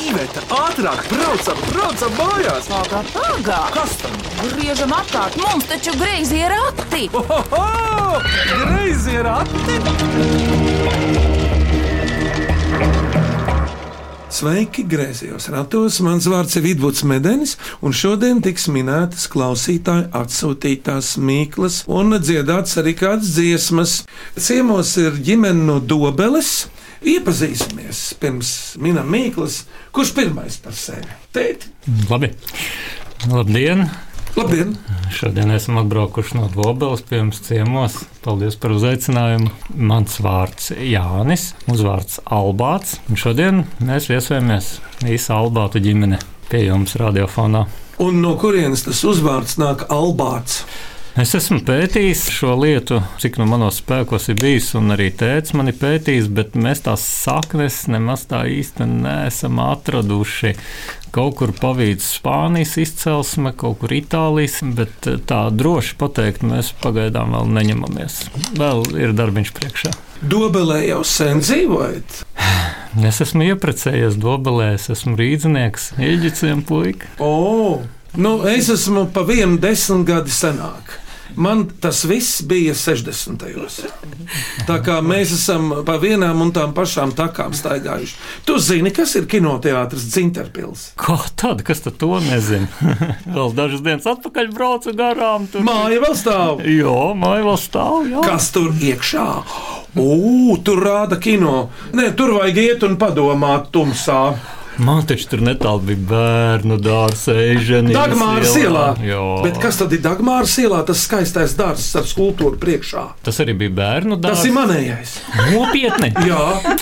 Iveta, ātrāk, braucam, braucam mājās! Pagā, pagā! Kas tam? Griežam apkārt, mums taču greizi ir rati! Ohoho! Greizi ir atti! Sveiki, griezījos ratos. Mans vārds ir Vidvuds Medenis, un šodien tiks minētas klausītāju atsūtītās mīklas un dziedāts arī kādas dziesmas. Ciemos ir ģimene no Dobeles. Iepazīsimies pirms minam mīklas, kurš pirmais par sevi. Tēt, Labi. Labdien! labdien! Šodien esam atbraukuši no Dobelas pirms ciemos. Paldies par uzaicinājumu. Mans vārds Jānis, uzvārds Albāts. Un šodien mēs viesojamies īsa Albātu ģimene pie jums radiofonā. Un no kurienes tas uzvārds nāk Albāts? Es esmu pētījis šo lietu, cik no manos spēkos ir bijis, un arī tēvs man ir pētījis, bet mēs tās saknes nemaz tā īsti neesam atraduši. Kaut kur pavīdz Spānijas izcelsme, kaut kur Itālijas, bet eh, tā droši pateikt, mēs pagaidām vēl neņemamies. Vēl ir darbiņš priekšā. Dobelē jau sen dzīvojat. Es esmu iepriecējies Dobelē, es esmu rīznieks, ieģiciem puika. O, nu, es esmu pa vienu desmit gadi senāk. Man tas viss bija 60. gados. Tā kā mēs esam pa vienām un tām pašām takām staigājuši. Tu zini, kas ir kinoteātris Zinterpils? Kā tad, kas tad to nezina? vēl dažas dienas atpakaļ braucu garām. Tur. Māja vēl stāv! Jā, māja vēl stāv. Jā. Kas tur iekšā? Ugh, tur rāda kino. Nē, tur vajag iet un padomāt tumsā. Man taču tur netālu bija bērnu dārza, ežena. Dagmāras ielā. Jā, Bet kas tad ir Dagmāras ielā? Tas skaistais dārsts ar skulptūru priekšā. Tas arī bija bērnu dārza. Tas ir manējais. nopietni. Jā.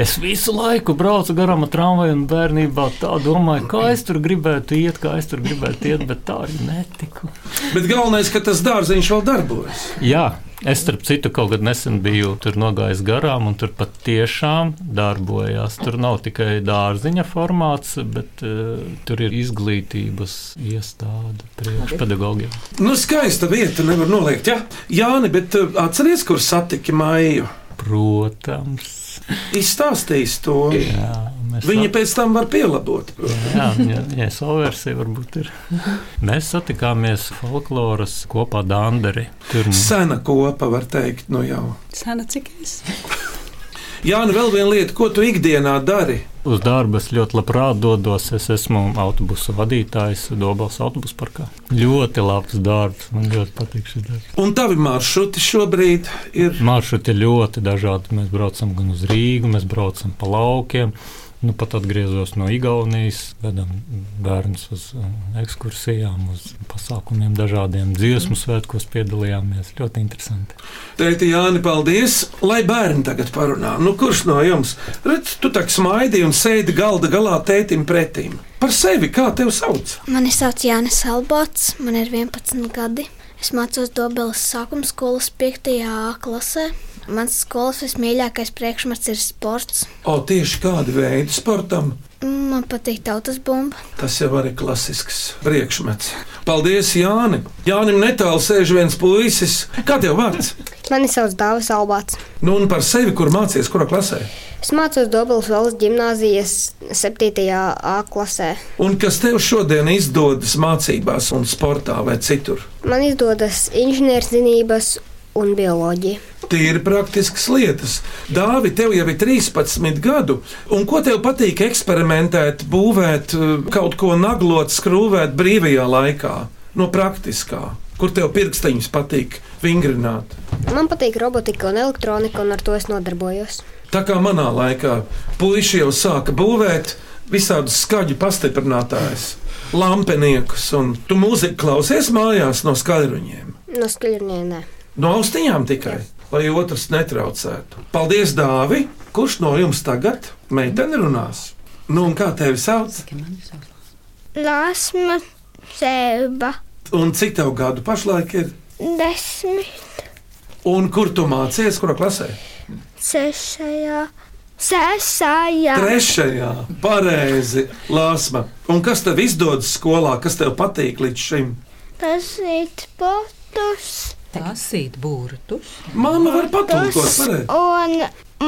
Es visu laiku braucu garām ar tramvaju un bērnībā tā domāju, kā es tur gribētu iet, kā es tur gribētu iet, bet tā arī netiku. Bet galvenais, ka tas dārziņš vēl darbojas. Jā, es starp citu kaut kad nesen biju tur nogājis garām, un tur patiešām darbojās. Tur nav tikai dārziņa formāts, bet uh, tur ir izglītības iestāde priekšpedagogiem. Nu, skaista vieta, nevar noliegt. Ja? Jāni, bet eh, atceries, kur satiki māju. Protams, Izstāstīs to. jā, mēs Viņa pēc tam var pielabot. Jā, jā, jā, solversija varbūt ir. Mēs satikāmies folkloras kopā Danderi. Tur mums Sena kopa, var teikt, nu jau. Sena cik es? Jāni, vēl viena lieta, ko tu ikdienā dari? uz darbu es ļoti labprāt dodos. Es esmu autobusu vadītājs Dobels autobusu parkā. Ļoti labs darbs, man ļoti patīk šis darbs. Un tavi maršruti šobrīd ir. Maršruti ir ļoti dažādi. Mēs braucam gan uz Rīgu, mēs braucam pa laukiem. Nu, pat atgriezos no Igaunijas, vedam bērnus uz eh, ekskursijām, uz pasākumiem, dažādiem dziesmu svētkos piedalījāmies. Ļoti interesanti. Tēti, Jāni, paldies, lai bērni tagad parunā. Nu, kurš no jums? Redz, tu tak smaidi un sēdi galda galā tētim pretīm. Par sevi, kā tevi sauc? Mani sauc Jānis Albāts, man ir 11 gadi. Es mācos Dobelas sākuma skolas 5. A klasē. Mans skolas vismīļākais priekšmets ir sports. O, tieši kādu veidu sportam? Man patīk tautas bumba. Tas jau arī klasisks priekšmets. Paldies, Jāni. Jānim netālu sēž viens puisis. Kā tev vārds? Mani sauc Dāvis Albāts. Nu, un par sevi, kur mācījies, kurā klasē? Es mācos Dobelas valsts gimnāzijas 7. A klasē. Un kas tev šodien izdodas mācībās, un sportā vai citur? Man izdodas inženierzinības un bioloģija. Tīri praktiskas lietas. Dāvi, tev jau ir 13 gadu, un ko tev patīk eksperimentēt, būvēt, eh, kaut ko naglot, skrūvēt brīvajā laikā, no praktiskā, kur tev pirkstiņus patīk vingrināt. Man patīk robotika un elektronika, un ar to es nodarbojos. Tā kā manā laikā puiši jau sāka būvēt visādus skaļu pastiprinātājus, lampiniekus, un tu mūziku klausies mājās no skaļruņiem, No skaļruņiem, nē. no austiņām tikai, lai otrs netraucētu. Paldies, Dāvi! Kurš no jums tagad meitene runās? Nu, un kā tevi sauc? Lāsma sēba Un cik tev gadu pašlaik ir? desmit, Un kur tu mācies, kurā klasē? sešajā, sesajā. Trešajā, pareizi, Lāsma. Un kas tev izdodas skolā, kas tev patīk līdz šim? Tas ir sports, Lasīt burtus. Māma var patulkot, varētu. Un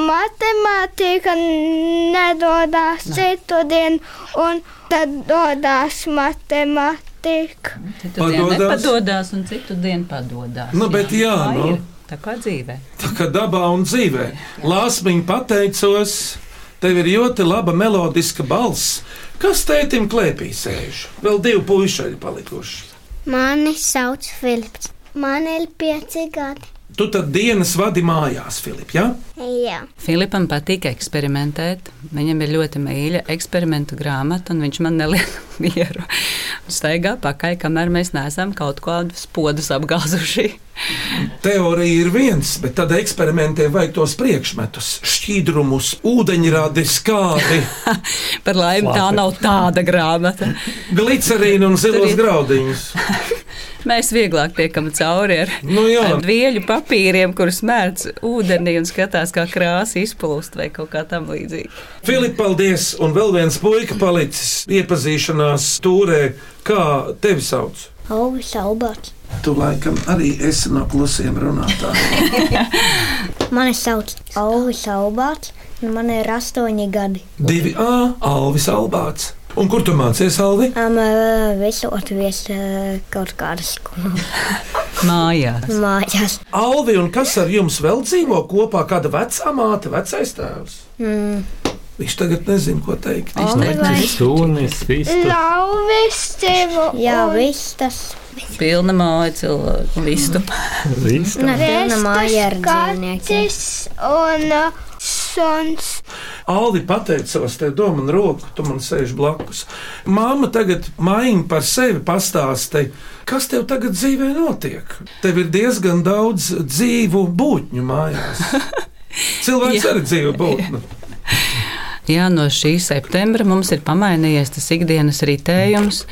matemātika nedodas citu dienu, un tad dodas matemātika. Citu dienu Padodās. nepadodās, un citu dienu padodas. Nu, bet jā, nu. Tā kā dzīvē. Tā kā dabā un dzīvē. Lāsmiņ, pateicos, tev ir ļoti laba melodiska balss. Kas tētim klēpī sēž? Vēl divi puikaļi palikuši. Mani sauc Filips. Man ir pieci gadi. Tu tad dienas vadi mājās, Filip, jā? Jā. Filipam patīk eksperimentēt. Viņam ir ļoti mīļa eksperimentu grāmata, un viņš man neliek mieru. Staigā pakaļ, kamēr mēs neesam kaut kādus podus apgāzuši. Teorija ir viens, bet tad eksperimentē vai tos priekšmetus, šķīdumus, ūdeņradi, skābi, Par laimi tā Labi. nav tāda grāmata. glicerīnu un zilos Tur ir- graudiņus. Mēs vieglāk tiekam cauri ar, Nu jā. ar vieļu papīriem, kurus mērts ūdenī un skatās, kā krāsa izplūst vai kaut kā tam līdzīga. Filips, paldies! Un vēl viens puika palicis iepazīšanās stūrē, kā tevi sauc. Auvis Alberts. Tu laikam arī esi no klusiem runātājiem. Mani sauc Auvis Alberts, un man ir astoņi gadi. Divi A, Alvis Albāts. Un kur tu mācies, Alvi? Am, visot vies eh, kaut kādas skolas Mājās. mājās. Alvi, un kas ar jums vēl dzīvo kopā? Kāda vecā māte, vecais tēvs? Mm. Viņš tagad nezina, ko teikt. Neķis, sunis, vistas. Lauvis tevi Jā, viss tas Pilna māja cilvēku. Vistu. vistas. Viena māja ar dzīvniekiem. kacis un uh, suns. Aldi pateicās, te dod man roku, tu man sēž blakus. Māma tagad maini par sevi pastāsti, kas tev tagad dzīvē notiek. Tev ir diezgan daudz dzīvu būtņu mājās. Cilvēks arī dzīvo būtni. Jā, no šī septembra mums ir pamainījies tas ikdienas ritējums.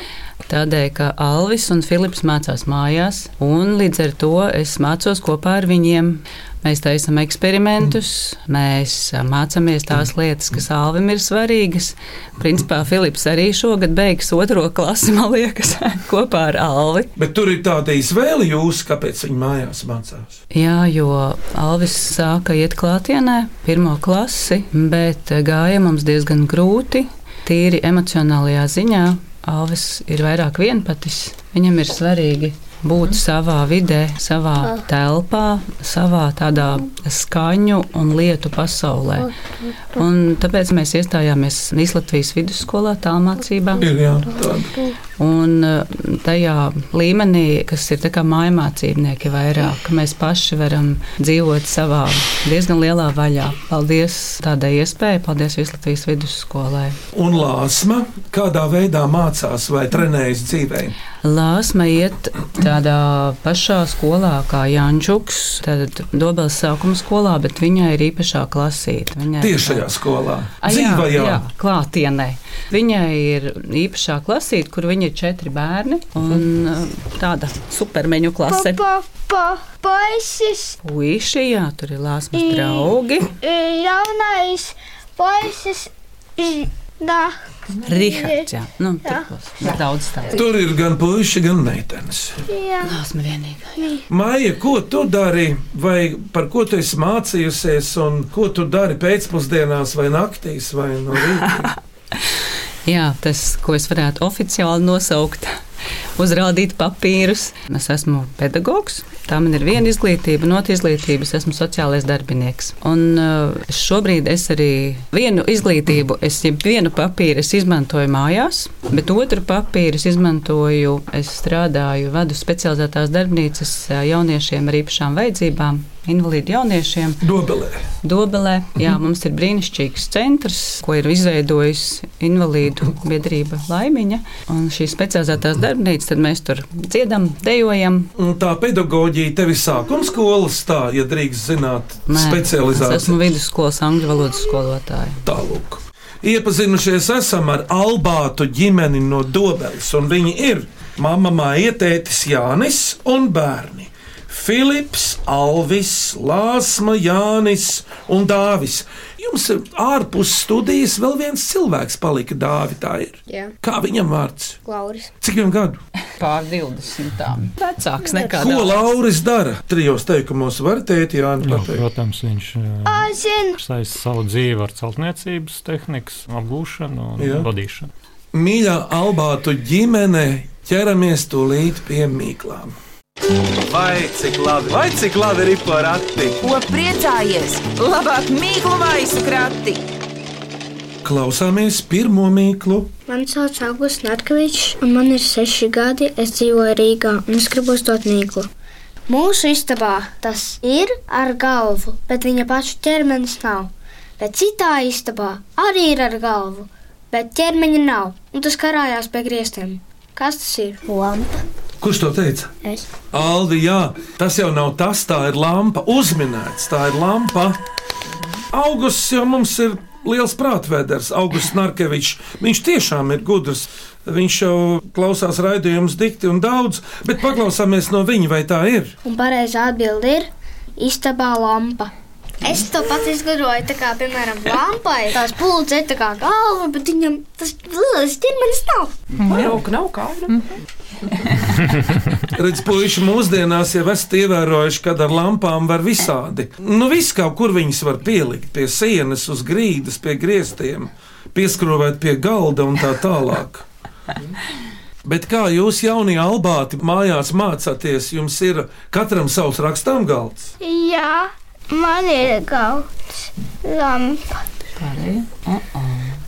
Tādēļ, ka Alvis un Filips mācās mājās, un līdz ar to es mācos kopā ar viņiem. Mēs taisām eksperimentus, mēs ā, mācāmies tās lietas, kas Alvim ir svarīgas. Principā Filips arī šogad beigs otro klasi, man liekas, kopā ar Alvi. Bet tur ir tāda izvēle jūs, kāpēc viņi mājās mācās. Jā, jo Alvis sāka iet klātienē, pirmo klasi, bet gāja mums diezgan grūti. Tīri emocionālajā ziņā Alvis ir vairāk vienpatis. Viņam ir svarīgi būt savā vidē, savā telpā, savā tādā skaņu un lietu pasaulē. Un tāpēc mēs iestājāmies Nīslatvijas vidusskolā tālmācībā. Ir jā, tāda. Un eh, tajā līmenī, kas ir tā kā mājācībnieki vairāk, ka mēs paši varam dzīvot savā diezgan lielā vaļā. Paldies tādai iespējai, paldies Vislatvijas vidusskolai. Un lāsma, kādā veidā mācās vai trenējas dzīvē. Lāsma iet tādā pašā skolā kā Jančuks, tad Dobels sākuma skolā, bet viņai ir īpašā klasīte. Viņai- Tieši šajā skolā, Ah, dzīvajā. jā, klātienē. Viņai ir īpašā klasīte, kur viņa ir četri bērni un eh, tāda supermeņu klase. Pa, pa, puisis, Puisī, jā, tur ir lāsmas draugi. eh, jaunais puisis. ž- Da, Rihards, jā, nu, Jā. tikos, daudz tādu. Tur ir gan puiši, gan meitenes. jā. Lāsma vienīgā. Māja, ko tu dari, vai par ko tu esi mācījusies, un ko tu dari pēcpusdienās, vai naktīs, vai no rīta? Jā, tas, ko es varētu oficiāli nosaukt, uzrādīt papīrus. Es esmu pedagogs, tā man ir viena izglītība, no otras izglītības esmu sociālais darbinieks. Un uh, šobrīd es arī vienu izglītību, es jau vienu papīru es izmantoju mājās, bet otru papīru es izmantoju, es strādāju, vadu specializētās darbnīcas ā, jauniešiem ar īpašām vajadzībām, invalīdu jauniešiem. Dobelē. Dobelē. Jā, Mhm. mums ir brīnišķīgs centrs, ko ir izveidojusi invalīdu biedrība Laimiņa. Un šīs specializētās darbnīcas, tad mēs tur dziedam, dejojam. Un tā pedagoģija tev ir sākuma skolas, tā, ja drīkst zināt, Nē, Es specializācija esmu vidusskolas angļu valodas skolotāja. tālāk. Iepazinušies esam ar Albātu ģimeni no Dobeles, un viņi ir mamma, māja, tētis Jānis un bērni. Filips, Alvis, Lāsma, Jānis un Dāvis. Jums ārpus studijas vēl viens cilvēks palika dāvi. Tā ir. Jā, Kā viņam vārds? Lauris. Cik viņam gadu? Pār 20. Vecāks nekā Ko dāvā. Lauris dara? Trijos teikumos var teikt, Jānis. Nu, pateikt? protams, viņš Ā, zinu, saistīja savu dzīvi ar celtniecības tehnikas apgūšanu un Jā. vadīšanu. Mīļā Albātu ģimene, ķeramies tūlīt pie mīklām. Vai cik labi, vai cik labi ir porati? Ko priecājies? Labāk mīklu maisu krati! Klausāmies pirmo mīklu. Mani sauc Augusts Natkavičs, un man ir seši gadi. Es dzīvoju Rīgā, un es gribu uzdot mīklu. Mūsu istabā tas ir ar galvu, bet viņa paša ķermenis nav. Bet citā istabā arī ir ar galvu, bet ķermeņa nav, un tas karājās pie griestiem. Kas tas ir? Lampa. Kurš to teica? Es. Aldi, jā, tas jau nav tas, tā ir lampa. Uzminēts, tā ir lampa. Augusts jau mums ir liels prātvēders, Augusts Narkevičs. Viņš tiešām ir gudrs. Viņš jau klausās raidījumus dikti un daudz, bet paklausāmies no viņa, vai tā ir. Un pareizā atbilde ir istabā lampa. Es to pats izgudroju, tā kā, piemēram, lampai. Tās pulcē tā kā galva, bet viņam tas lielais ķermenis nav. Redz, puiši, mūsdienās jau esat ievērojuši, ka ar lampām var visādi. Nu, viss kaut kur viņas var pielikt, pie sienas, uz grīdas, pie griestiem, pieskrāvēt pie galda un tā tālāk. Bet kā jūs, jaunie albāti, mājās mācāties, jums ir katram savs rakstām galds? jā, man ir galds. Lampa.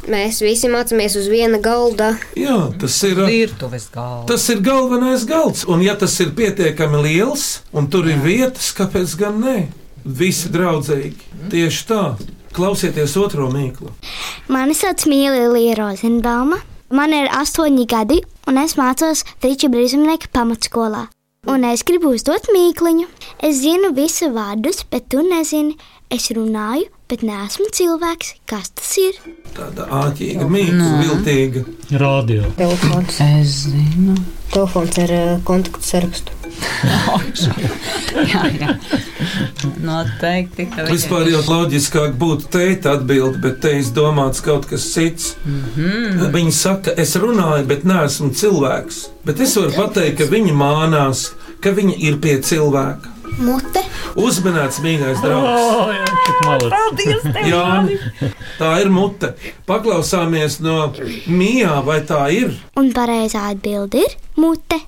Mēs visi mācāmies uz viena galda. Jā, tas ir. Virtuves galva. Tas ir galvenais galds, un ja tas ir pietiekami liels, un tur ir vietas, kāpēc gan ne? Visi draudzīgi. Tieši tā. Klausieties otro mīklu. Mani sauc Mīlīja Rozenbauma. Man ir astoņi gadi, un es mācos Friča Brīsumnieka pamatskolā. Un es gribu uzdot mīkluņu. Es zinu visu vārdus, bet tu nezini. Es runāju, bet neesmu cilvēks. Kas tas ir? Tāda āķīga, mīkla, viltīga. Radio. Telefons. Es zinu. Telefons ar eh, kontaktu sarakstu. Jā, jā. Noteikti. ka viņai Vispār jau loģiskāk būtu teikt atbildi, bet te izdomāts kaut kas cits. Viņa saka, es runāju, bet neesmu cilvēks. Bet es varu pateikt, ka viņa mānās, ka viņa ir pie cilvēka. Mute. Uzmanīts, mīļais draugs! Oh, jā, cik malacis. Jā, tā ir mute. Paklausāmies no Mījā, vai tā ir? Un pareizā atbilde ir mute.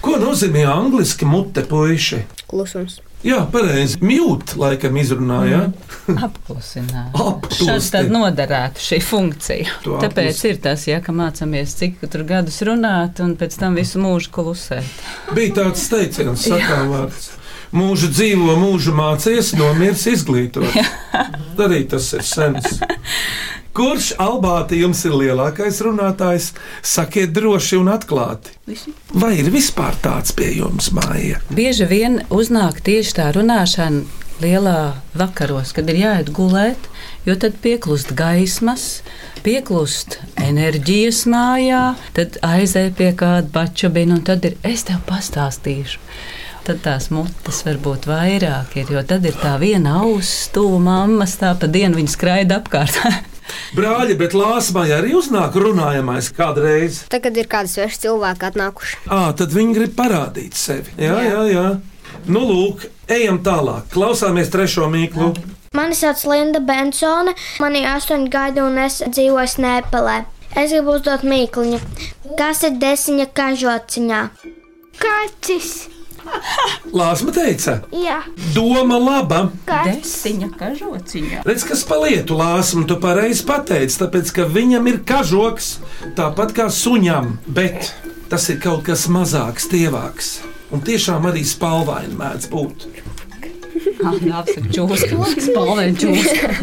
Ko nozīmē angliski mute puiši? Klusums. Jā, pareizi. Mute, laikam, izrunājot. Apklusināt. Apklusti. Šādi tad noderētu šī funkcija. Tu Tāpēc apklusi. ir tas, ja, ka mācāmies cik tur gadus runāt un pēc tam visu mūžu klusēt. Bija tāds teiciens, sakām vārds. Mūžu dzīvo, mūžu mācies, nomirs izglītot. Arī tas ir sens. Kurš Albāti jums ir lielākais runātājs? Sakiet droši un atklāti. Vai ir vispār tāds pie jums māja? Bieži vien uznāk tieši tā runāšana lielā vakaros, kad ir jāiet gulēt, jo tad pieklust gaismas, pieklust enerģijas mājā, tad aizēj pie kāda bačabina un tad ir es tev pastāstīšu. Tad tās mutes varbūt vairāk ir, jo tad ir tā viena auss, to mammas tā pa dienu viņa skraida apkārt. Brāļi, bet lāsmai arī uznāk runājamais kādreiz. Tagad ir kādi sveši cilvēki atnākuši. À, tad viņi grib parādīt sevi. Jā, jā, jā. Nu, lūk, ejam tālāk. Klausāmies trešo mīklu. Mani sauc Linda Bensone, man ir astoņi gadi un es dzīvoju Snēpelē. Es gribu uzdot mīkluņu. Kas ir desiņa kažociņā? Kacis. Lāsma teica, Jā, doma laba. kacis. Desiņa kažociņā. Redz, kas palietu lāsmu, tu pareizi pateici, tāpēc ka viņam ir kažoks, tāpat kā suņam, bet tas ir kaut kas mazāks, tievāks. Un tiešām arī spalvaini mēdz būt. Labs ir čūskas, spalveni čūskas.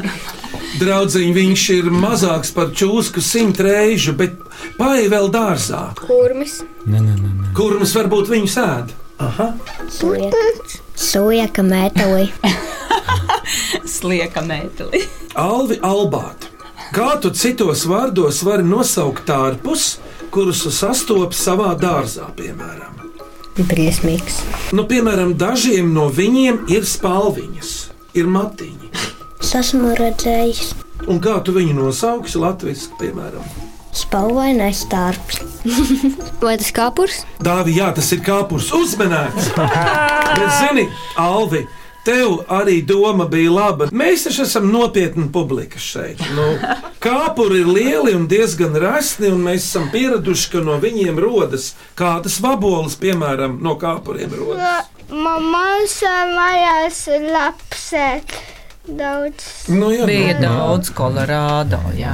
Draudziņ, viņš ir mazāks par čūsku simt reižu, bet paeja vēl dārzā, Kurmis. Nē, nē, nē, nē. kur mums varbūt viņu sēd. Aha. Sujaka metāli. Slieka mēteli. Alvi Albāti, kā tu citos vārdos vari nosaukt tārpus, kurus tu sastopi savā dārzā, piemēram? briesmīgs. Nu, piemēram, dažiem no viņiem ir spalviņas, ir matiņi. Es esmu redzējis Un kā tu viņu nosauksi latviešu, piemēram? spalvainais darbs. Vai tas kāpurs? Dāvi, jā, tas ir kāpurs, uzmanīgs. Bet, zini, Alvi, tev arī doma bija laba. Mēs taču esam nopietni publika šeit. Nu, kāpuri ir lieli un diezgan rasni, un mēs esam pieraduši, ka no viņiem rodas kādas vaboles, piemēram, no kāpuriem rodas. Mamma mājās lapsēt daudz. Nu, jā, Bija nu, daudz kolorādo. Jā.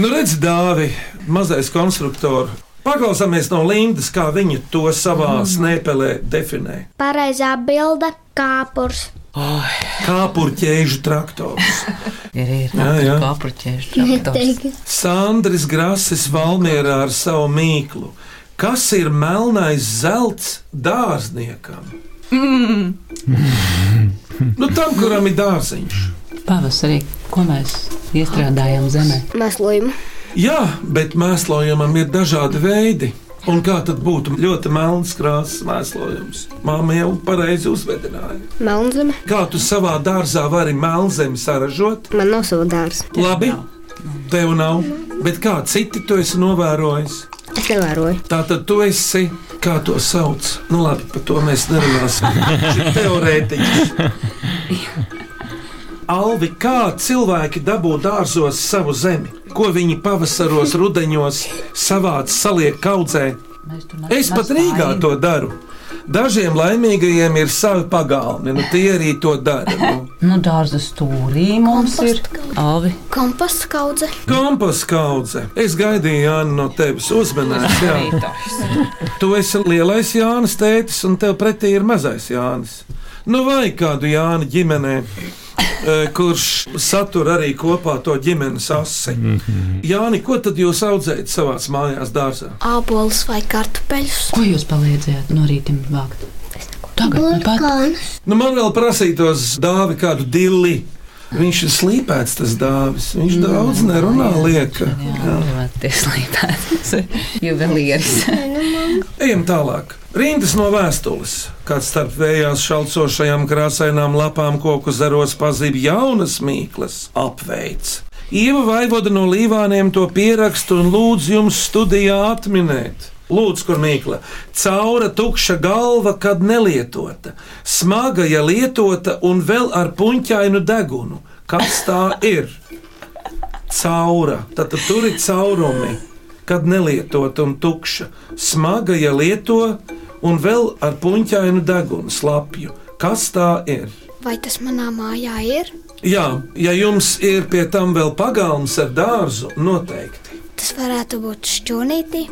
nu redz, Dāvi, mazais konstruktors. Paklausāmies no Lindas, kā viņa to savā snēpelē definē. Pareizā bilde - kāpurs. Kāpurķēžu traktors. Ir Jā, īrnieks, jā. kā apruķējuši. Sandrija Grāsis Valmjerā ar savu mīklu. Kas ir melnais zelts dārzniekam? Mm. nu, tam, kuram ir dārziņš. Pavasarī, ko mēs iestrādājam zemē? Mēslojumu. Jā, bet mēslojumam ir dažādi veidi. Un kā tad būtu ļoti melns krāsas mēslojums? Māma jau pareizi uzvedināja. Melnzeme. Kā tu savā dārzā vari melnzemi saražot? Man nav sava dārza. Labi, tev nav, bet kā citi to esi novērojis? Es nevēroju. Tātad tu esi, kā to sauc, nu labi, par to mēs nerunāsim. Viņš ir teorētiķis. Alvi, kā cilvēki dabū dārzos savu zemi, ko viņi pavasaros, rudenos savāc, saliek kaudzē? Mēs tur Es pat nestājam. Rīgā to daru. Dažiem laimīgajiem ir savi pagalmi, nu tie arī to dara. Nu. Nu, dārza stūrī mums ir alvi. Komposts kaudze. Kompas kaudze. Es gaidīju Jānu no tevis uzmanības. Jā. Tu esi lielais Jānis tētis, un tev pretī ir mazais Jānis. Nu, vai kādu Jānu ģimenē, eh, kurš satur arī kopā to ģimenes asi? Jāni, ko tad jūs audzējat savā mājās, dārzā? Ābols vai kartupeļus. Ko jūs palīdzējāt no rīta vākt? Tagad nu pat Burkāns. Nu, man vēl prasītos dāvi kādu dili. Viņš ir slīpēts, tas dāvis. Viņš daudz nerunā, lieka. Mm. Jā. ļoti slīpēts. Juvelieris. Ejam tālāk. Rītas no vēstules, kad starp vējās šalcošajām krāsainām lapām koku zaros pazīst jaunas mīklas, apveids. Ieva vaivoda no līvāniem to pierakstu un lūdz jums studijā atminēt. Lūdzu, kur mīkla, caura tukša galva, kad nelietota, smaga, ja lietota un vēl ar puņķainu degunu. Kas tā ir? caura. Tad tur ir caurumi, kad nelietot un tukša. Smaga, ja lieto, un vēl ar puņķainu degunu slapju. Kas tā ir? Vai tas manā mājā ir? Jā, ja jums ir pie tam vēl pagalms ar dārzu, noteikti. Tas varētu būt šķūnītī.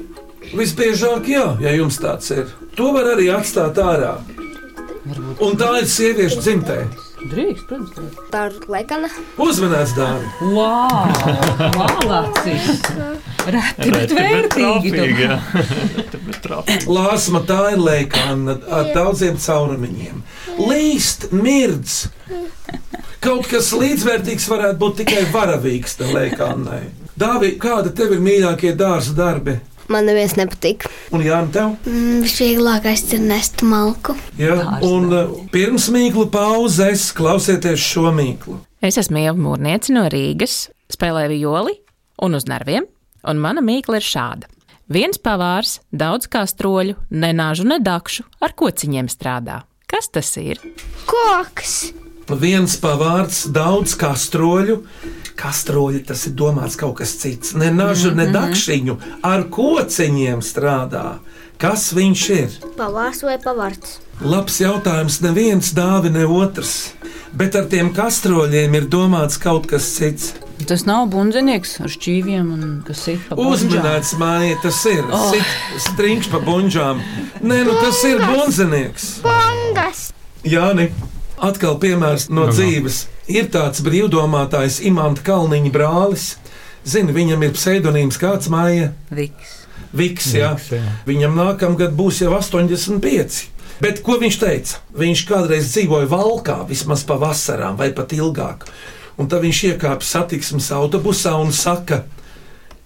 Visbiežāk, jā, ja jums tāds ir. To var arī atstāt ārā. Un tā ir sieviešu dzimtē. Drīkst, protams. Tā ir lekana. Uzmanīts, dāmas! Wow! Vālācis! Reti, bet vērtīgi. Lāsma, tā ir lēkāna ar daudziem caurumiņiem. Līst, mirdz. Kaut kas līdzvērtīgs varētu būt tikai varavīgs tam lēkānai. Dāvī, kāda tev ir mīļākie dārza darbi? Man neviens nepatīk. Un Jāni, tev? Mm, visvieglākais ir nest malku. Jā, Dārza un uh, pirms mīklu pauzes klausieties šo mīklu. Es esmu Ieva Mūrniece no Rīgas, spēlēju violi un uz nerviem, un mana mīkla ir šāda. Viens pavārs, daudz kā stroļu, nenāžu, nedakšu, ar kociņiem strādā. Kas tas ir? Koks, Viens pavārds, daudz kastroļu. Kastroļi tas ir domāts kaut kas cits. Ne nažu, ne dakšiņu, ar kociņiem strādā. Kas viņš ir? Pavārs vai pavārds? Labs jautājums. Neviens dāvi, ne otrs. Bet ar tiem kastroļiem ir domāts kaut kas cits. Tas nav bundzinieks ar šķīviem un kas ir pa bundzām. Uzmanīts, māja, tas ir. Oh. Strīņš pa bunžām. Nē, nu tas ir bunzinieks. pongas, Jāni, atkal piemērs no dzīves. Ir tāds brīvdomātājs Imants Kalniņa brālis. Zini, viņam ir pseidonīms kāds māja. Viks. Viks, jā. Viks, jā. Viņam nākamgad būs jau 85. Bet ko viņš teica? Viņš kādreiz dzīvoja valkā, vismaz pavasarā vai pat ilgāk. Un tad viņš iekāpa satiksmes autobusā un saka,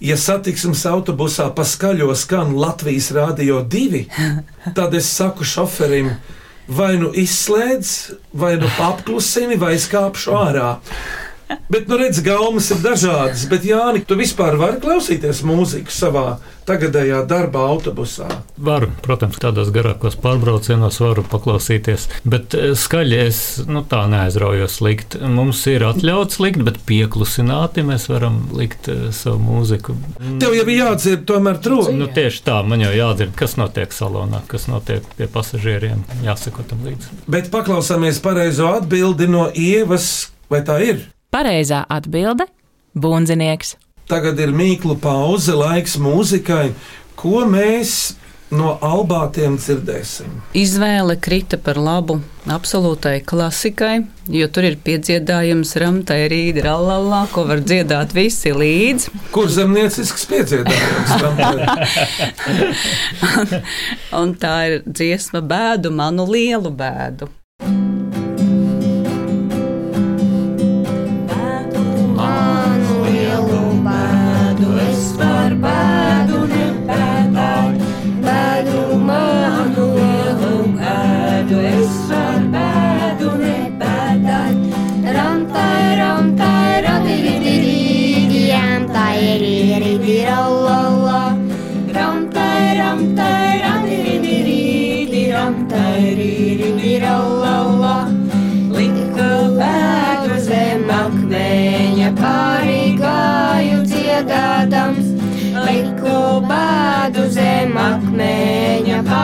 Ja satiksmes autobusā paskaļo skan Latvijas rādio divi, tad es saku šoferim, vai nu izslēdz, vai nu apklusini, vai es kāpšu ārā. Bet, nu, redz, gaumas ir dažādas. Bet, Jāni, tu vispār vari klausīties mūziku savā tagadējā darbā, autobusā. Varu, protams, tādos garākos pārbraucienos varu paklausīties, bet eh, skaļi es nu, tā neaizraujos likt. Mums ir atļauts likt, bet pieklusināti mēs varam likt eh, savu mūziku. Tev jau bija jādzird, tomēr trūkst. Nu, tieši tā, man jau jādzird, kas notiek salonā, kas notiek pie pasažieriem. Jāsako tam līdzi. Bet paklausāmies pareizo atbildi no ievas, vai tā ir? Pareizā atbilde - bundzinieks. Tagad ir mīklu pauze, laiks mūzikai. Ko mēs no albātiem dzirdēsim? Izvēle krita par labu absolūtai klasikai, jo tur ir piedziedājums ramtai rīdi, rallallā, ko var dziedāt visi līdz. Kur zemniecisks piedziedājums tam ir? Un tā ir dziesma bēdu, manu lielu bēdu. e, e, e,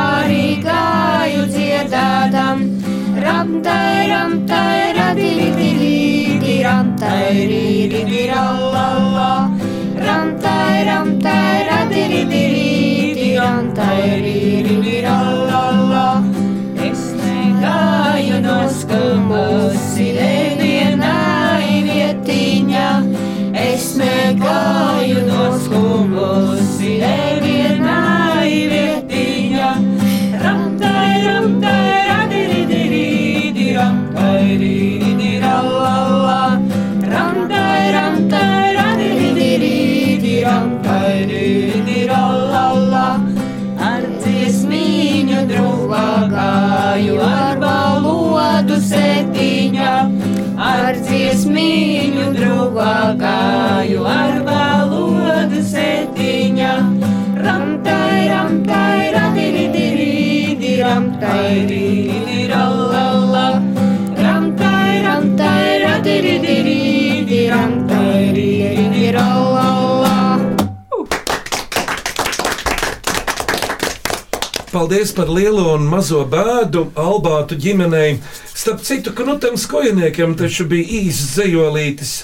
Paldies par lielo un mazo bēdu Albātu ģimenei. Starp citu, knutam skojiniekiem taču bija īsts zejolītis.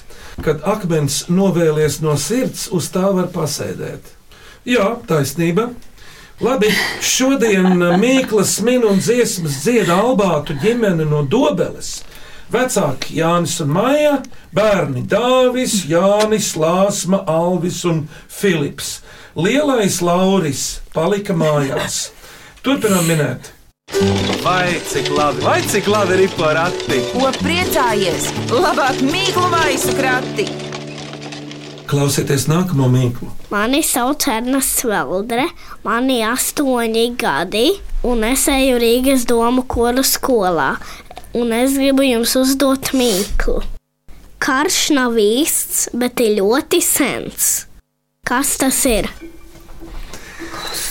Kad akmens novēlies no sirds, uz tā var pasēdēt. Jā, taisnība. Labi, šodien Mīklas min un dziesmas dziedā Albātu ģimene no Dobeles. Vecāki Jānis un Maija, bērni Dāvis, Jānis, Lāsma, Alvis un Filips. Lielais Lauris palika mājās. Turpinām minēt. Vai cik labi, vai cik labi ir porati? Ko priecājies? Labāk mīklu maisu krati! Klausieties nākamo mīklu. Mani sauc Erna Sveldre, man ir astoņi gadi, un es eju Rīgas domu kora skolā. Un es gribu jums uzdot mīklu. Karš nav īsts, bet ir ļoti sens. Kas tas ir?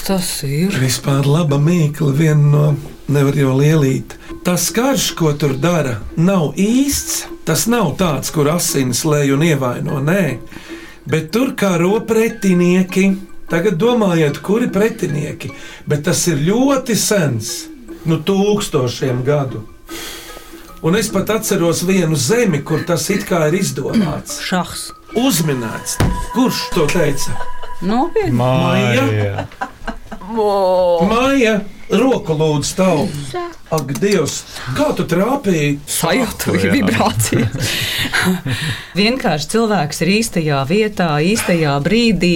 Tas ir Vispār laba mīkla, viena no nevar jau lielīt. Tas karš, ko tur dara, nav īsts. Tas nav tāds, kur asins lej un ievaino. Nē, bet tur karo pretinieki. Tagad domājiet, kuri pretinieki, bet tas ir ļoti sens, nu, tūkstošiem gadu. Un es pat atceros vienu zemi, kur tas it kā ir izdomāts. šachs. Uzminēts, kurš to teica? Nopietni. Maija. Māja, roku lūdzu, tev. Ak, Dievs, kā tu trāpīji? Sajūtu Jā. vibrācijas. Vienkārši cilvēks ir īstajā vietā, īstajā brīdī.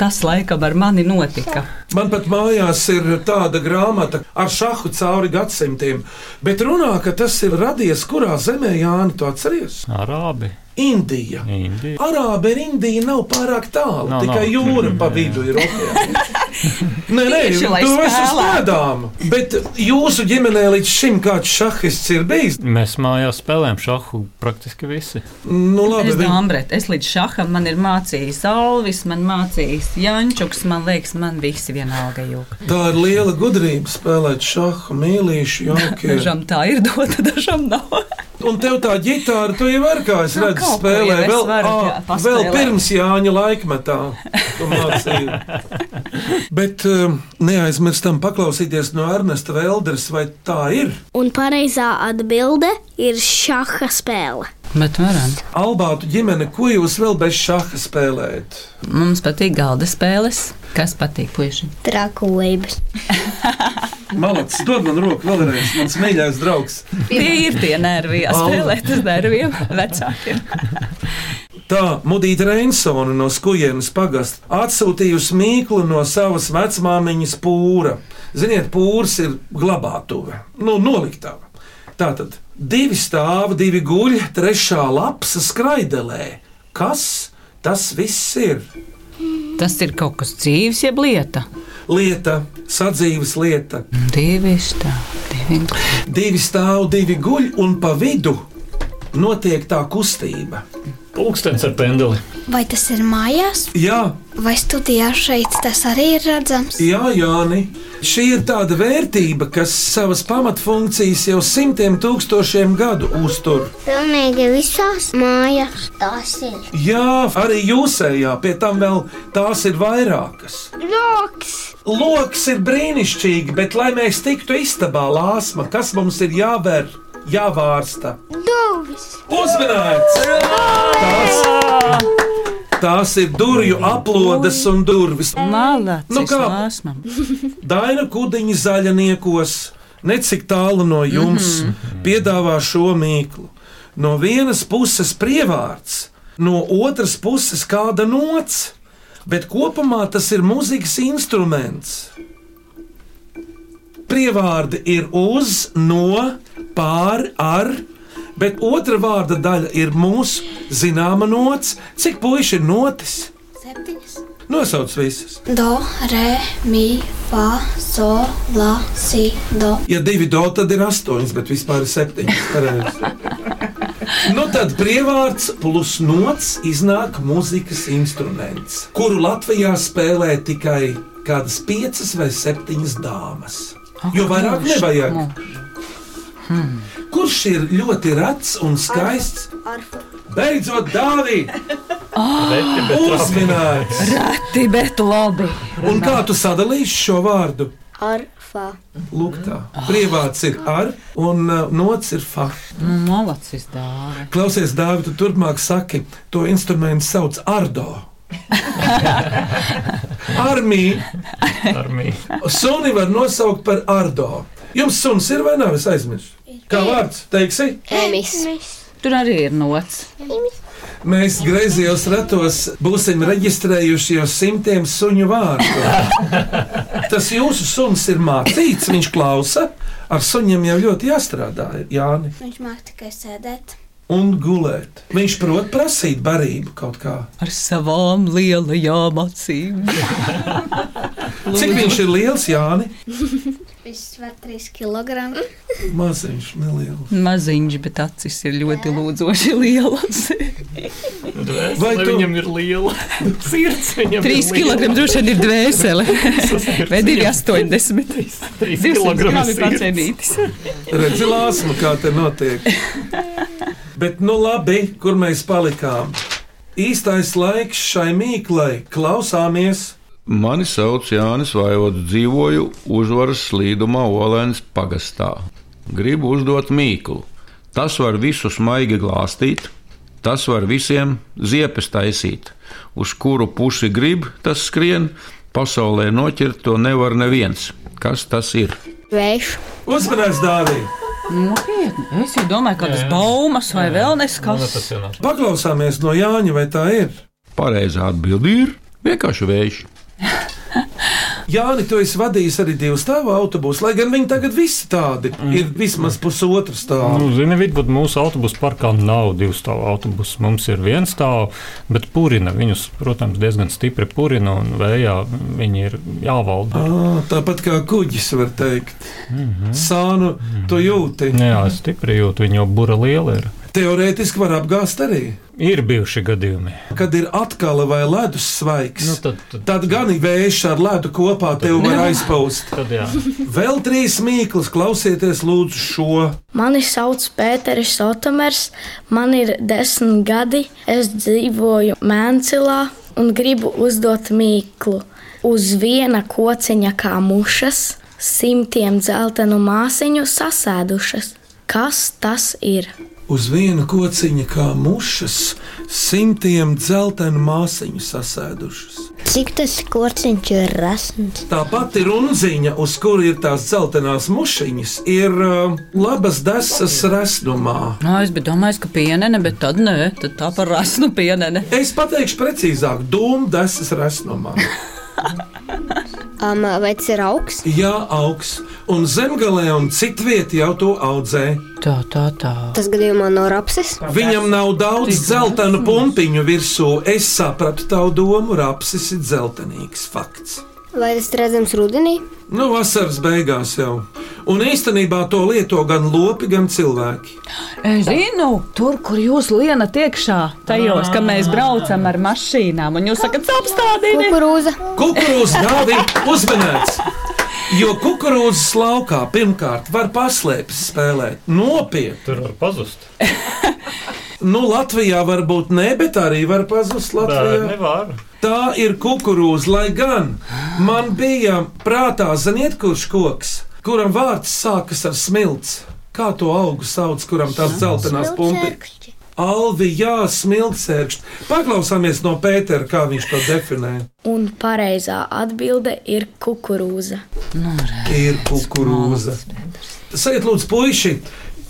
Tas laikam ar mani notika. Man pat mājās ir tāda grāmata ar šahu cauri gadsimtiem, bet runā, ka tas ir radies kurā zemē, Jānis, tu atceries? Arābi, Indija. Indija. Arābi ir Indija, nav pārāk tālu. Nav, tikai nav. jūra pa vidu ir okeāna. Nē, nē, Tieši, lai to es spēlētu. uzstādām. Bet jūsu ģimenē līdz šim kāds šahists ir bijis? Mēs mājās spēlējam šahu praktiski visi. Nu, labi, Es viņ- domāju, es līdz šaham man ir mācījis Alvis, man mācījis Jančuks. Man liekas, man visi vienalga jūka. tā ir liela gudrība spēlēt šāhu, mīlīšu, jauku. Dažam tā ir dota, dažam nav. Un tev tā ģitāra, tu jau ar kā es Nu, redzu, kaut ko spēlē jau es vēl, varu, ā, jā, vēl paspēlēt. pirms Jāņa laikmetā. tu mācīji. Bet um, neaizmirstam paklausīties no Ernesta Velders, vai tā ir. Un pareizā atbilde ir šaha spēle. Bet varam. Albātu ģimene, ko jūs vēl bez šaha spēlējat? Mums patīk galda spēles. Kas patīk puišiem? Trakulības. Malacis, dod man roku vēlreiz, mans mīļākais draugs. Tie ir tie nervi, jā, Alva. spēlēt uz nerviem vecākiem. Tā Mudita Reinsona no Skujienas pagasta atsūtījusi mīklu no savas vecmāmiņas pūra. Ziniet, pūrs ir glabātuve, nu, noliktava. Tā tad divi stāvi, divi guļi, trešā lapsa skraidelē. Kas tas viss ir? Tas ir kaut kas dzīves, jeb lieta. Lieta, sadzīves lieta. Divi stāvi. Divi stāvi, divi guļi, un pa vidu notiek tā kustība. Pūkstens ar pendeli. Vai tas ir mājās, Jā, vai studijā šeit tas arī ir redzams? Jā, Jāni, šī ir tāda vērtība, kas savas pamatfunkcijas jau simtiem tūkstošiem gadu uztur. Pilnīgi visās mājās tas ir. Jā, arī jūsējā, pie tam vēl tās ir vairākas. Roks, Loks ir brīnišķīgi, bet, lai mēs tiktu istabā, lāsma, kas mums ir jāver, jāvārsta. duvis, Uzmanīts! Tās, tās ir durvju aplodes un durvis. Malacis, Nu nu kā? kā? Daina Kudiņa zaļniekos, necik tālu no jums, mm -hmm. piedāvā šo mīklu. No vienas puses prievārds, no otras puses kāda nots, bet kopumā tas ir mūzikas instruments. Prievārdi ir uz, no, pār, ar. Bet otra vārda daļa ir mūsu zināma nots, cik puiši ir notis. septiņas, Nosauc visas. do, re, mi, fa, so, la, si, do. Ja divi do, tad ir astoņas, bet vispār ir septiņas. Pareizi. nu, tad brīvvārds plus nots iznāk mūzikas instruments, kuru Latvijā spēlē tikai kādas piecas vai septiņas dāmas. Jo vairāk nevajag. Kurš ir ļoti rats un skaists? Beidzot, Dārvids! Reti, bet labi. Uzminēts! Reti, bet labi. Un kā tu sadalīsi šo vārdu? Ar fa. Lūk, tā. Brīvvārds ir ar, un uh, nots ir fa. Nu, malacis dāvi. Klausies, Dārvid, tu turpmāk saki, to instrumentu sauc Ardo. Armija Armija. suni var nosaukt par Ardo. Jums suns ir vai nav? Es aizmirsu. Kā vārds? Teiksi? Emis. Tur arī ir nots. Mēs griezījos ratos, būsim reģistrējuši jau simtiem suņu vārdu. Tas jūsu suns ir mācīts, viņš klausa. Ar suņiem jau ļoti jāstrādā, Jāni. Viņš māca tikai sēdēt. Un gulēt. Viņš prot prasīt barību kaut kā. Ar savām lielajām acīm. Cik viņš ir liels, Jāni? Viss var 3 kg. Maziņš, neliels. Maziņš, bet acis ir ļoti lūdzoši lielas. Vai Vai tu- viņam ir liela sirds? Viņam Trīs ir liela. kilogrami droši vien ir dvēsele. Sirds Vai divi viņam- astoņdesmit? Trīs kilogrami Divsimt sirds. procentītis. Redzi, lāsma, kā te notiek. Bet, nu labi, kur mēs palikām? Īstais laiks šai mīklai klausāmies. Mani sauc Jānis Vaivots, dzīvoju uzvaras slīdumā Olēnas pagastā. Gribu uzdot mīklu. Tas var visu smaigi glāstīt, tas var visiem ziepes taisīt. Uz kuru pusi grib, tas skrien, pasaulē noķert to nevar neviens. Kas tas ir? Vējš. Uzmanības dāvīgi! Nopietni. Es jau domāju, kādas baumas vai vēl Man neskas. tas jau nav. Paklausāmies no Jāņa, vai tā ir? Pareizā atbilde ir vienkārši vējš. Jāni, tu esi vadījis arī divu stāvu autobusu, lai gan viņi tagad visi tādi ir vismaz pusotru stāvu. Nu, Zini, Vidbud, mūsu autobusu parkā nav divu stāvu autobusu. Mums ir viens stāvs, bet purina viņus, protams, diezgan stipri purina un vējā viņi ir jāvalda. Ā, Tāpat kā kuģis var teikt, sānu tu jūti. Jā, es stipri jūtu, viņu bura liela ir. Teorētiski var apgāzt arī, Ir bijuši gadījumi. kad ir atkal vai ledus svaigs. Nu, tad, tad, Tad gan ir vējš ar ledu kopā, tev var aizpaust. tad, jā. Vēl trīs mīklas, klausieties, lūdzu, šo. Mani sauc Pēteris Otomers, man ir desmit gadi. Es dzīvoju Mēncilā un gribu uzdot mīklu. Uz viena kociņa kā mušas, simtiem dzeltenu māsiņu sasēdušas. Kas tas ir? Uz viena kociņa kā mušas, simtiem dzeltenu māsiņu sasēdušas. Cik tas korciņš ir rasns? Tāpat ir runziņa, uz kuras ir tās dzeltenās mušiņas, ir uh, labas desas resnumā. Nā, Nu, es biju domājis, ka pienene, bet tad nē, tad tā par rasnu pienene. Es pateikšu precīzāk, dūmu desas resnumā. Um, vai tas ir augsts? Jā, augs, un zemgalē un citvietā jau to audzē. Tā, tā, tā. Tas gadījumā nav rapsis. Viņam nav daudz zeltainu pumpiņu virsū. Es sapratu tavu domu, rapsis ir dzeltenīgs fakts. Vai tas ir redzams rudenī? Nu, vasaras beigās jau. Un īstenībā to lieto gan lopi, gan cilvēki. Es Eh, zinu, tur, kur jūs lienat iekšā, tajos, ka Ah. mēs braucam ar mašīnām, un jūs sakat, apstādini! Kukurūza. Kukurūzas gādi uzmanēts! Jo kukurūzas laukā pirmkārt var paslēpties spēlēt nopietni. Tur var pazust. Nu, Latvijā varbūt ne, bet arī var pazust Latvijā. Bērni var. Tā ir kukurūza, lai gan man bija prātā, ziniet, kurš koks, kuram vārds sākas ar smilts. Kā to augu sauc, kuram tās dzeltenās pumpiņas? Alvi, jā, smilcērkšķi. Paklausāmies no Pētera, kā viņš to definē. Un pareizā atbilde ir kukurūza. Ir kukurūza. Sakiet, lūdzu, puiši,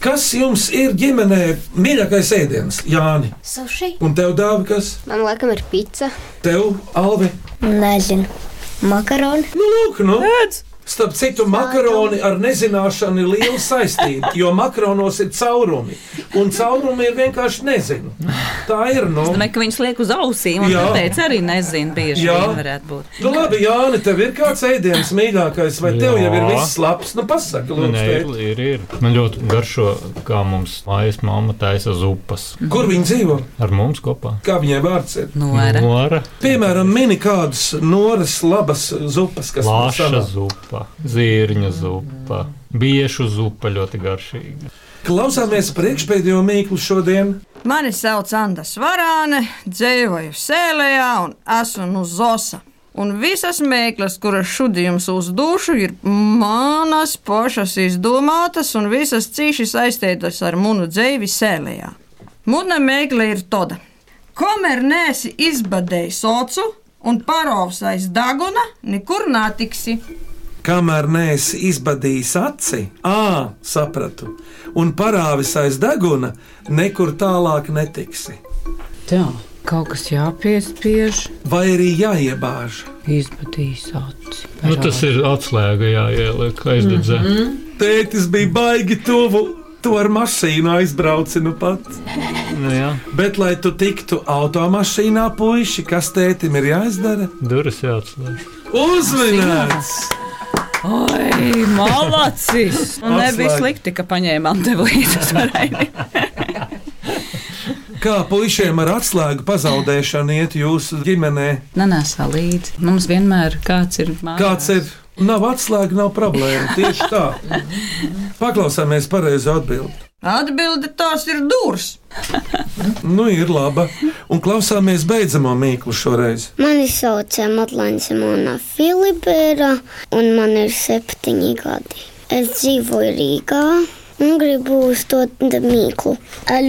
kas jums ir ģimenē mīļākais ēdiens? Jāni, Sushi. un tev dāvā kas? Man laikam ir pica. Tev, Alvi, Nezinu. Makaroni. Nu, lūk, nu. Starp citu, makaroni ar nezināšanu ir liela saistība, jo makaronos ir caurumi. Un caurumi ir vienkārši nezinu. Tā ir nu. no. Nē, ka viņas liek uz ausīm, un Jā. viņš teica, arī nezinu, bieži Jā. vien varētu būt. Nu, labi, Jāni, tev ir kāds ēdiens mīļākais, vai tev jau ir Jā. viss labs? Nu, pasaki, Nē, lūdzu, ir, tēt. ir, ir. Man ļoti garšo, kā mums mājas mamma taisa zupas kur viņi dzīvo, ar mums kopā. kā viņai vārds ir. Nora. Nora, Piemēram, mini kādas noras labas zupas, kas mums lāša sanāk. zupa, zīriņa zupa, biešu zupa ļoti garšīga. Klausāmies priekšpēdējo mīklu šodien. Mani sauc Anna Svarāne, dzīvoju Sēlējā un esmu no Zosa. Un visas mēklas, kuras šodien jums uzdūšu, ir manas pašas izdomātas un visas cīši saistītas ar munu dzīvi Sēlējā. Muna mēkla ir tāda. Komer nēsi izbadējis socu un parovs aiz daguna, nekur nātiksi. Kamēr neesi izbadījis aci, ā, sapratu, un parāvis aiz deguna, nekur tālāk netiksi. Tā, kaut kas jāpiespiež, Vai arī jāiebāž. izbadīs acis. Nu, tas ir atslēga, jā, ieliek aizdedzē. Mm -hmm. Tētis bija baigi tuvu, tu ar mašīnu aizbrauci nu pat. nu, jā, Bet, lai tu tiktu automašīnā, puiši, kas tētim ir jāizdara? durvis jāatslēdz. Uzmanīgs! Oi, malacis! Un nebija Atslēga. slikti, ka paņēmām tev līdzi svarēni. Kā puišiem ar atslēgu pazaudēšanu iet jūsu ģimenē? Nē, nē, sā līdzi. Mums vienmēr kāds ir mājās. Kāds ir? Nav atslēga, nav problēma. Tieši tā. Paklausāmies pareizi atbildēt. Atbilde tās ir durs. Nu, ir laba. Un klausāmies beidzamo mīklu šoreiz. Mani sauc Madlēna Simona Filipēra, un man ir septiņi gadi. Es dzīvoju Rīgā un gribu uzdot mīklu.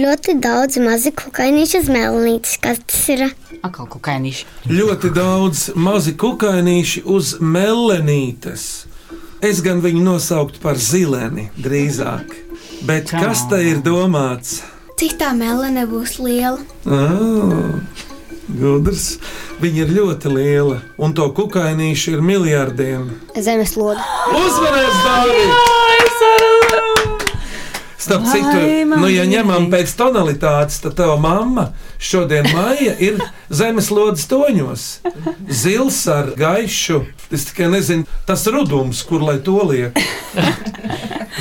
Ļoti daudz mazu kukainīšu zmelnītes, kas tas ir. Atkal kukainīši. Ļoti daudz mazi kukainīši uz melenītes. Es gan viņu nosauktu par zileni drīzāk. Bet kas te ir domāts? Cik tā melna būs liela? Ah, Gudrs. Viņa ir ļoti liela, un to kukainīšu ir miljardiem. Zemeslode. Uzvarēs, Dārgi! Starp citu, nu, ja ņemam pēc tonalitātes, tad tava mamma šodien māja ir zemeslodes toņos. Zils ar gaišu, es tikai nezinu, tas rudums, kur lai to liek.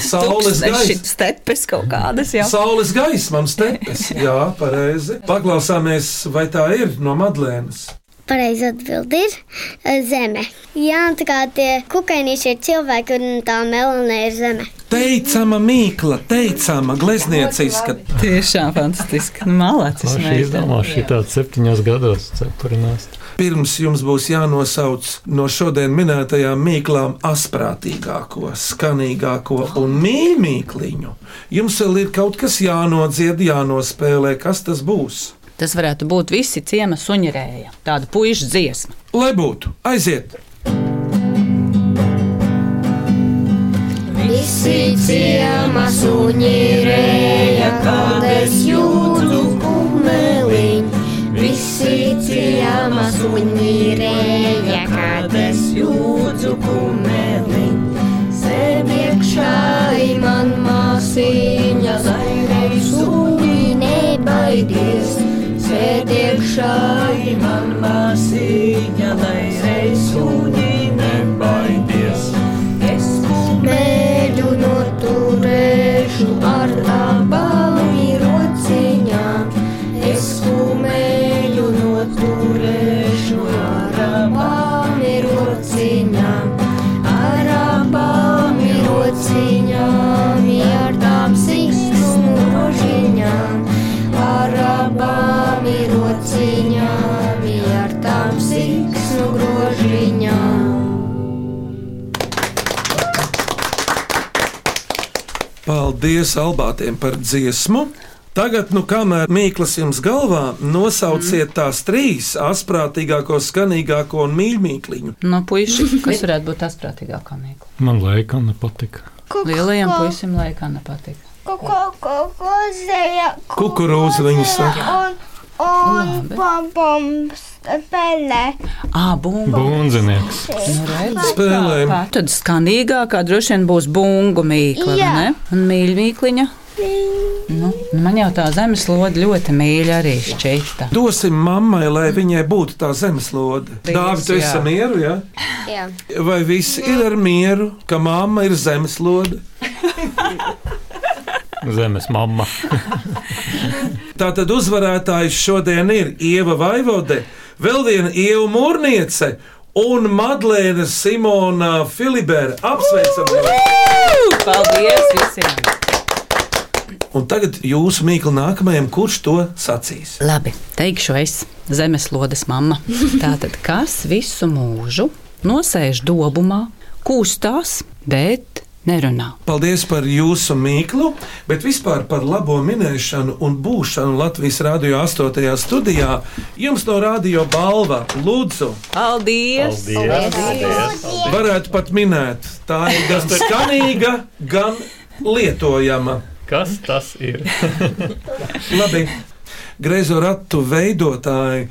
Saules gaisma. stepes kaut kādas jau. Saules gaisma, stepes. Jā, pareizi. Paklausāmies, vai tā ir no Madlēnas. Pareizi atbild ir e, zeme. Jā, tā kā tie kukainīši ir cilvēki un tā melnē ir zeme. Teicama mīkla, teicama glezniecība. Tiešām fantastiski. Nu, Malācis. Šī meitene. izdomā šī tāda septiņos gados cepurināst. Pirms jums būs jānosauc no šodien minētajām mīklām asprātīgāko, skanīgāko un mīļāko. Jums vēl ir kaut kas jānodzied, jānospēlē, kas tas būs. Tas varētu būt visi ciema suņirēja. Tāda puikas dziesma. Lai būtu, aiziet! Visi ciema suņirēja, kad es jūtu kumeliņu. Visi ciema suņirēja, kad es jūtu kumeliņu. Sēdiekšā ir man māsīņa, zairei suņi nebaidies. Sēdiekšā ir man māsīņa, zairei suņi nebaidies. Es mēģu noturēšu ar abām rociņām. Es mēģu noturēšu ar abām rociņām. Ar abām rociņām, ar tām siksnu rožiņām. Ar abām rociņām, ar tām siksnu grožiņām. Paldies Albātiem par dziesmu! Tagad, nu, kamēr mīklas jums galvā, nosauciet tās trīs asprātīgāko, skanīgāko un mīļāko. No puikas, Nu, kas varētu būt tas prātīgākā mīkla. Man laikam nepatika. Lielajam puisim laikam nepatīk. Kukurūzija Kukurūza viņa saka. un, un bombums pelē. Ah, bungu. Bunzinieks. Nu, redz, Spēlēm. kā. Tad skanīgākā droši vien būs bungu mīkla. vai Jā. ne? Un mīļmīkliņa. Nu, man jau tā zemeslode ļoti mīļa arī šķita. Dosim mammai, lai viņai būtu tā zemeslode. Paldies, Dāvidi, tu jā. esi mieru, jā? Jā. Vai viss ir ar mieru, ka mamma ir zemeslode? Zemes mamma. Tātad uzvarētājs šodien ir Ieva Vaivode, vēl viena Ieva Mūrniece un Madlēna Simona Filibera. Apsveicam! viņus! Paldies visiem! Un tagad jūsu mīklu nākamajam, kurš to sacīs? Labi, teikšu es, zemeslodes mamma. Tātad, kas visu mūžu nosēž dobumā, kūstās, bet nerunā? Paldies par jūsu mīklu, bet vispār par labo minēšanu un būšanu Latvijas Rādio 8. studijā. Jums no Rādio balva, Lūdzu, Paldies! Paldies! varētu pat minēt. Tā ir gan skanīga, gan lietojama. Kas tas ir? Labi. Greizo ratu veidotāji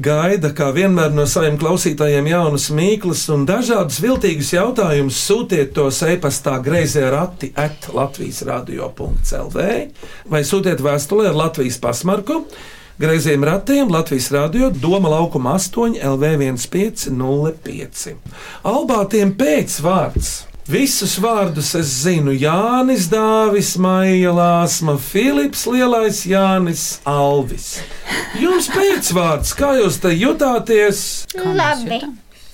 gaida, kā vienmēr, no saviem klausītājiem jaunas mīklas un dažādas viltīgas jautājumus. Sūtiet tos e-pastā greizē rati at Latvijas radio.clv vai sūtiet vēstulē ar Latvijas pasmarku. Greiziem ratiem Latvijas Rādio Doma laukuma 8 LV1505. Albātiem pēcvārds. Visus vārdus es zinu. Jānis Dāvis, Maija Lāsma, Filips, Lielais Jānis, Alvis. Jums pēcvārds, kā jūs te jutāties? Labi,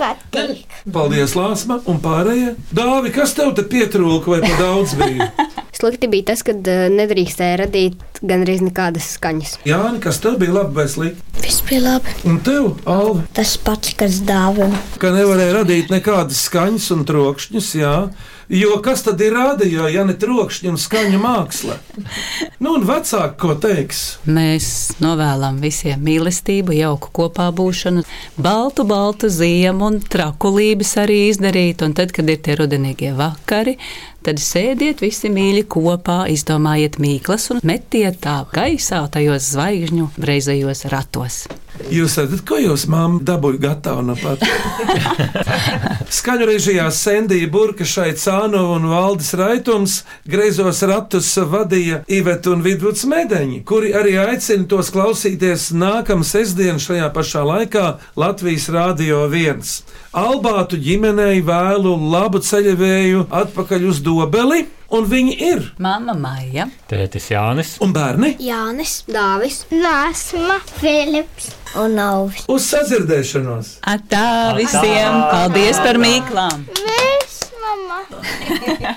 patīk. Paldies, Lāsma, un pārējie. Dāvi, kas tev te pietrūka vai par daudz bija? Slikti bija tas, ka nedrīkstēja radīt gandrīz nekādas skaņas. Jāni, kas tev bija labi vai slikti? Viss bija labi. Un tev, Alvi? Tas pats, kas dāvina. ka nevarēja radīt nekādas skaņas un trokšņus. Jā. Jo kas tad ir radio, ja ne trokšņa un skaņu māksla? Nu, un vecāki, ko teiks? Mēs novēlam visiem mīlestību, jauku kopā būšanu, baltu, baltu ziemu un trakulības arī izdarīt. Un tad, kad ir tie rudenīgie vakari, tad sēdiet visi mīļi kopā, izdomājiet mīklas un metiet tā gaisā tajos zvaigžņu reizējos ratos. Jūs esat, ko jūs mamma dabūjāt gatavu no pat? Skaņu režijā Sendija Burka, Šaicānova un Valdis Raitums greizos ratus vadīja Iveta un Vidvuds Medeņi, kuri arī aicina tos klausīties nākamā sestdiena šajā pašā laikā Latvijas Rādio 1. Albātu ģimenei vēlu labu ceļavēju atpakaļ uz Dobeli, un viņi ir Māma Maija. Tētis Jānis. Un bērni? Jānis, Dāvis, Nāsma, Filips un Alvis. Uz sadzirdēšanos! Atā visiem! Paldies par mīklām! Viss, mamma!